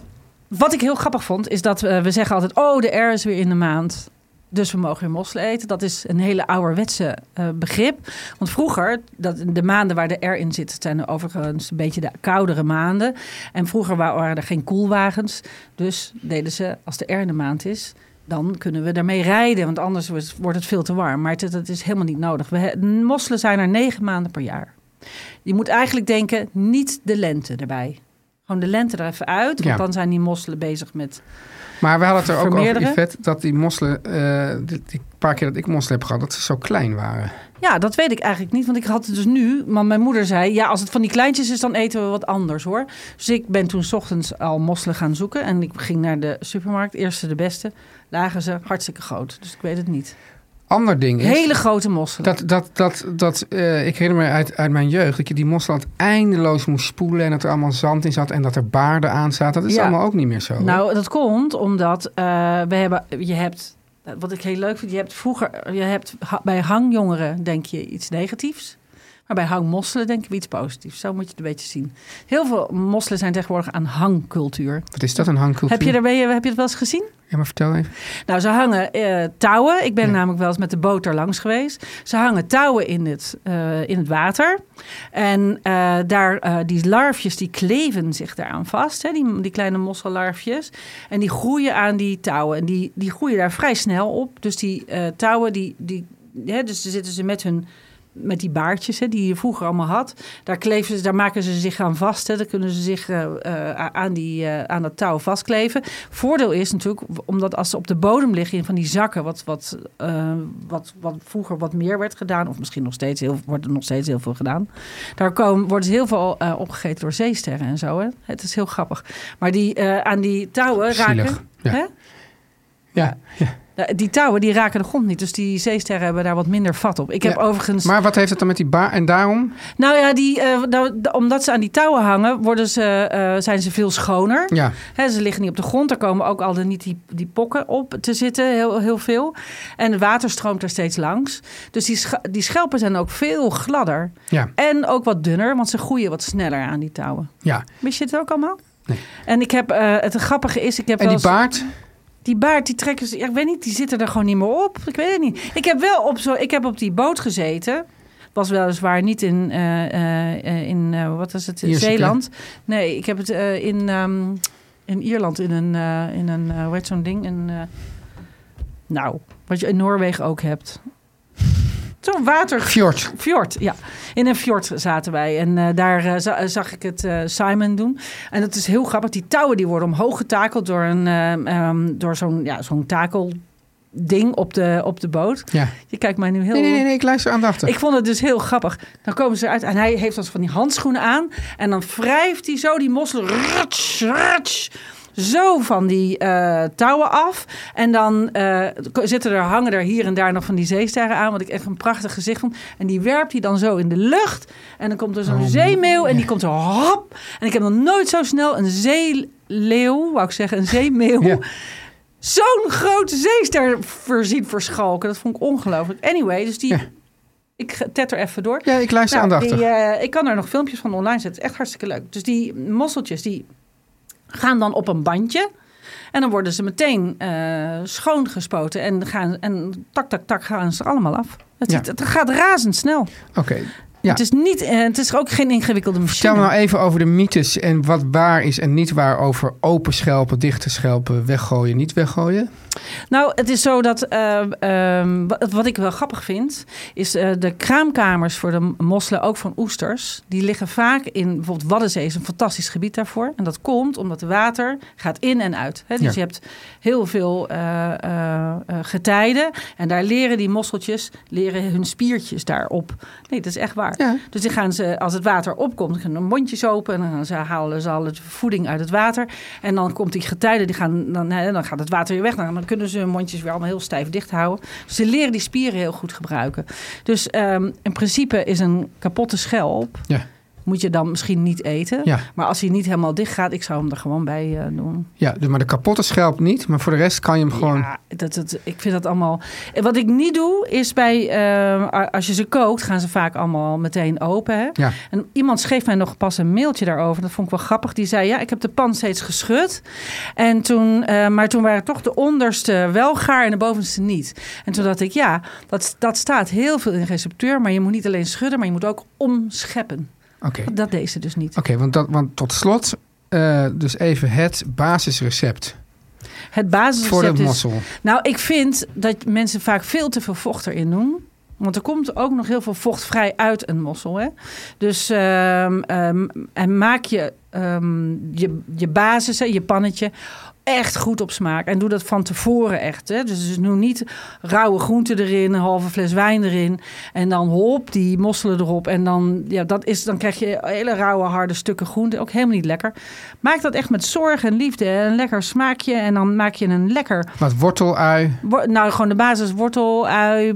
wat ik heel grappig vond, is dat eh, we zeggen altijd... oh, de R is weer in de maand, dus we mogen weer mosselen eten. Dat is een hele ouderwetse eh, begrip. Want vroeger, dat, de maanden waar de R in zit... dat zijn overigens een beetje de koudere maanden. En vroeger wa- waren er geen koelwagens. Dus deden ze, als de R in de maand is... Dan kunnen we daarmee rijden, want anders wordt- wordt het veel te warm. Maar dat is helemaal niet nodig. We, he- mosselen zijn er negen maanden per jaar. Je moet eigenlijk denken, niet de lente erbij. Gewoon de lente er even uit, want Ja. dan zijn die mosselen bezig met... Maar we hadden het er ook over, Vermeerderen? Yvette, dat die mosselen, eh die, die paar keer dat ik mosselen heb gehad, dat ze zo klein waren. Ja, dat weet ik eigenlijk niet, want ik had het dus nu... Maar mijn moeder zei, ja, als het van die kleintjes is, dan eten we wat anders hoor. Dus ik ben toen 's ochtends al mosselen gaan zoeken. En ik ging naar de supermarkt, eerste de beste. Lagen ze hartstikke groot, dus ik weet het niet. Ander ding is, Hele grote mosselen. dat, dat, dat, dat eh, ik herinner me uit, uit mijn jeugd, dat je die mossel had eindeloos moest spoelen en dat er allemaal zand in zat en dat er baarden aan zaten. Dat is Ja. allemaal ook niet meer zo. hè? Nou, dat komt omdat eh, we hebben, je hebt, wat ik heel leuk vind, je hebt vroeger, je hebt ha- bij hangjongeren denk je iets negatiefs. Maar Maar bij hangmosselen denken we iets positiefs. Zo moet je het een beetje zien. Heel veel mosselen zijn tegenwoordig aan hangcultuur. Wat is dat, een hangcultuur? Heb je, daar, ben je, heb je het wel eens gezien? Ja, maar vertel even. Nou, ze hangen eh, touwen. Ik ben Ja. namelijk wel eens met de boot er langs geweest. Ze hangen touwen in het, eh, in het water. En eh, daar, eh, die larfjes die kleven zich daaraan vast. Hè? Die, die kleine mossellarfjes. En die groeien aan die touwen. En die, die groeien daar vrij snel op. Dus die eh, touwen, die, die, hè, dus dan zitten ze met hun... Met die baardjes hè, die je vroeger allemaal had. Daar, kleven ze, daar maken ze zich aan vast. Hè. Dan kunnen ze zich eh, eh, aan, die, eh, aan dat touw vastkleven. Voordeel is natuurlijk, omdat als ze op de bodem liggen in van die zakken, wat, wat, eh, wat, wat vroeger wat meer werd gedaan, of misschien nog steeds heel, wordt er nog steeds heel veel gedaan. Daar komen, wordt heel veel eh, opgegeten door zeesterren en zo. Hè. Het is heel grappig. Maar die eh, aan die touwen Zielig, raken. ja. Hè? Ja. ja. Nou, Die touwen die raken de grond niet. Dus die zeesterren hebben daar wat minder vat op. Ik heb Ja, overigens. Maar wat heeft het dan met die baar? En daarom? Nou ja, die, eh, nou, d- omdat ze aan die touwen hangen, worden ze, eh, zijn ze veel schoner. Ja. Hè, ze liggen niet op de grond. Er komen ook al de, niet die, die pokken op te zitten, heel, heel veel. En het water stroomt er steeds langs. Dus die, scha- die schelpen zijn ook veel gladder. Ja. En ook wat dunner, want ze groeien wat sneller aan die touwen. Ja. Wist je het ook allemaal? Nee. En ik heb, eh, het grappige is, ik heb En wel die eens- baard? die baard, die trekken ze. ja, ik weet niet, die zitten er gewoon niet meer op. Ik weet het niet. Ik heb wel op, zo, ik heb op die boot gezeten. Was weliswaar niet in, eh, eh, eh, in eh, wat is het, Ierseke. Zeeland. Nee, ik heb het eh, in, ehm, in Ierland in een, eh, in een eh, hoe heet zo'n ding? Een, eh, nou, wat je in Noorwegen ook hebt. Zo'n water, Fjord. Fjord, ja. In een fjord zaten wij. En eh, daar eh, za- zag ik het eh, Simon doen. En dat is heel grappig. Die touwen die worden omhoog getakeld door, een, ehm, ehm, door zo'n ja, zo'n takelding op de, op de boot. Ja. Je kijkt mij nu heel... Nee, nee, nee, nee, ik luister aandachtig. Ik vond het dus heel grappig. Dan komen ze eruit en hij heeft als van die handschoenen aan. En dan wrijft hij zo die mossel. Ratsch, ratsch, zo van die eh, touwen af. En dan eh, ko- zitten er, hangen er hier en daar nog van die zeesterren aan. Wat ik echt een prachtig gezicht vond. En die werpt hij dan zo in de lucht. En dan komt er Oh, zo'n zeemeeuw. En die komt zo hop. En ik heb nog nooit zo snel een zeeleeuw, wou ik zeggen, een zeemeeuw. Ja. Zo'n grote zeester voorzien verschalken. Dat vond ik ongelooflijk. Anyway, dus die, Ja. ik ge- tetter even door. Ja, ik luister Nou, aandachtig. die, eh, ik kan er nog filmpjes van online zetten. Het is echt hartstikke leuk. Dus die mosseltjes die gaan dan op een bandje. En dan worden ze meteen eh, schoongespoten. En, gaan, en tak, tak, tak gaan ze allemaal af. Het, Ja. ziet- het gaat razendsnel. Oké. Ja. eh, Het, is niet, eh, het is ook geen ingewikkelde machine. Vertel me nou even over de mythes en wat waar is en niet waar over open schelpen, dichte schelpen, weggooien, niet weggooien. Nou, het is zo dat eh, ehm, wa- wat ik wel grappig vind, is eh, de kraamkamers voor de m- mosselen, ook van oesters, die liggen vaak in bijvoorbeeld Waddenzee is een fantastisch gebied daarvoor. En dat komt omdat het water gaat in en uit. Hè? Dus Ja. je hebt heel veel eh, eh, eh, getijden en daar leren die mosseltjes leren eh, hun spiertjes daarop. Nee, dat is echt waar. Ja. Dus die gaan ze, als het water opkomt, gaan hun mondjes open en dan gaan ze, halen ze al het voeding uit het water. En dan komt die getijden, die gaan, dan, hè, dan gaat het water weer weg. Dan, dan kunnen ze hun mondjes weer allemaal heel stijf dicht houden. Dus ze leren die spieren heel goed gebruiken. Dus ehm, in principe is een kapotte schelp, Ja. moet je dan misschien niet eten. Ja. Maar als hij niet helemaal dicht gaat, ik zou hem er gewoon bij eh, doen. Ja, de- maar de kapotte schelp niet, maar voor de rest kan je hem gewoon. Ja, dat, dat, ik vind dat allemaal. En Wat ik niet doe, is bij. eh, a- als je ze kookt, gaan ze vaak allemaal meteen open. Hè? Ja. En iemand schreef mij nog pas een mailtje daarover. Dat vond ik wel grappig. Die zei: Ja, ik heb de pan steeds geschud. En toen, eh, maar toen waren toch de onderste wel gaar en de bovenste niet. En toen dacht ik: Ja, dat, dat staat heel veel in de receptuur. Maar je moet niet alleen schudden, maar je moet ook omscheppen. Oké. Oké, Dat deed ze dus niet. want, dat- want tot slot, eh, dus even het basisrecept Het voor de basisrecept is. mossel. Nou, ik vind dat mensen vaak veel te veel vocht erin doen. Want er komt ook nog heel veel vocht vrij uit een mossel. Hè? Dus ehm, ehm, en maak je, ehm, je, je basis, hè, je pannetje, echt goed op smaak. En doe dat van tevoren echt. Hè? Dus, dus nu niet rauwe groenten erin, een halve fles wijn erin. En dan hop die mosselen erop. En dan, ja, dat is, dan krijg je hele rauwe, harde stukken groente. Ook helemaal niet lekker. Maak dat echt met zorg en liefde. hè, Een lekker smaakje. En dan maak je een lekker Wat wortelui. Wor- nou, gewoon de basis wortel, ui,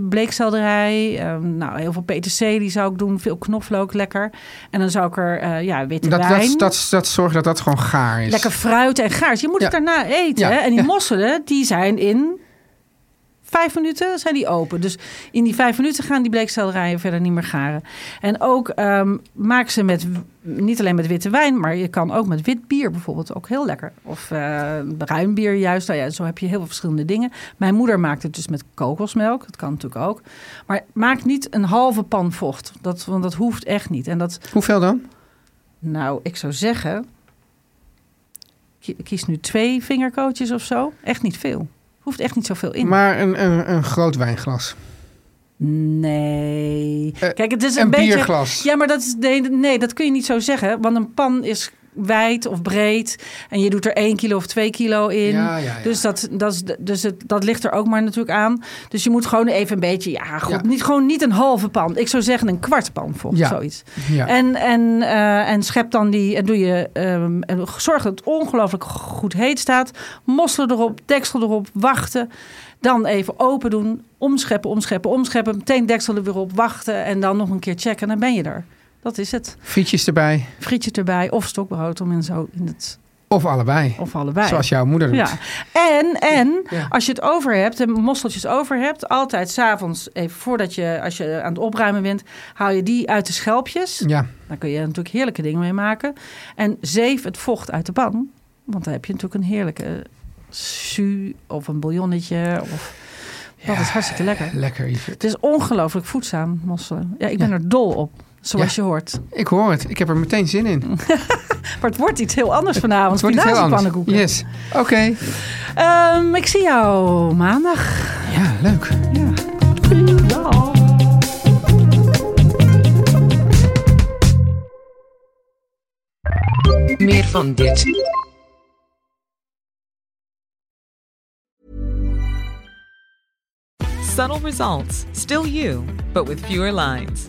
bleekselderij. ehm, nou, heel veel peterselie zou ik doen. Veel knoflook, lekker. En dan zou ik er eh, ja, witte Dat, dat, wijn... dat, dat, zorgt dat dat gewoon gaar is. Lekker fruit en gaars. Je moet het Ja. daarna eten. Ja, Hè? En die ja. mosselen, die zijn in... vijf minuten zijn die open. Dus in die vijf minuten gaan die bleekselderijen verder niet meer garen. En ook ehm, maak ze met, niet alleen met witte wijn, maar je kan ook met wit bier bijvoorbeeld ook heel lekker. Of eh, bruin bier juist. Nou ja, zo heb je heel veel verschillende dingen. Mijn moeder maakt het dus met kokosmelk. Dat kan natuurlijk ook. Maar maak niet een halve pan vocht. Dat, want dat hoeft echt niet. En dat, Hoeveel dan? nou, ik zou zeggen, ki- kies nu twee vingerkootjes of zo. Echt niet veel. Hoeft echt niet zoveel in. Maar een, een, een groot wijnglas. Nee. Eh, Kijk, het is een, een beetje. bierglas. Ja, maar dat is. Nee, nee, dat kun je niet zo zeggen. Want een pan is wijd of breed. En je doet er 1 kilo of 2 kilo in. Ja, ja, ja. Dus, dat, dat, is, dus het, dat ligt er ook maar natuurlijk aan. Dus je moet gewoon even een beetje. Ja, god, Ja. Niet, gewoon niet een halve pan. Ik zou zeggen een kwart pan vocht. Ja. Zoiets. Ja. En, en, eh, en schep dan die. En doe je. ehm, en zorg dat het ongelooflijk goed heet staat. Mosselen erop, deksel erop, wachten. Dan even open doen. Omscheppen, omscheppen, omscheppen. Meteen deksel er weer op, wachten. En dan nog een keer checken. En dan ben je er. Dat is het. Frietjes erbij. Frietje erbij of stokbrood om in zo in het. Of allebei. Of allebei. Zoals jouw moeder doet. Ja. En, en Ja. als je het over hebt, de mosseltjes over hebt, altijd s'avonds, even voordat je, als je aan het opruimen bent, haal je die uit de schelpjes. Ja. Daar kun je natuurlijk heerlijke dingen mee maken. En zeef het vocht uit de pan. Want dan heb je natuurlijk een heerlijke su of een bouillonnetje. Of... Dat is hartstikke lekker. Lekker, Yvette. Het is ongelooflijk voedzaam, mosselen. Ja, ik ben Ja. er dol op, zoals Ja. je hoort. Ik hoor het. Ik heb er meteen zin in. Het Maar het wordt iets heel anders vanavond. wordt iets heel anders. Yes. Spinaziepannenkoeken. Oké. Ehm, ik zie jou maandag. Ja, leuk. Ja. Dag. Meer van dit. Subtle results, still you, but with fewer lines.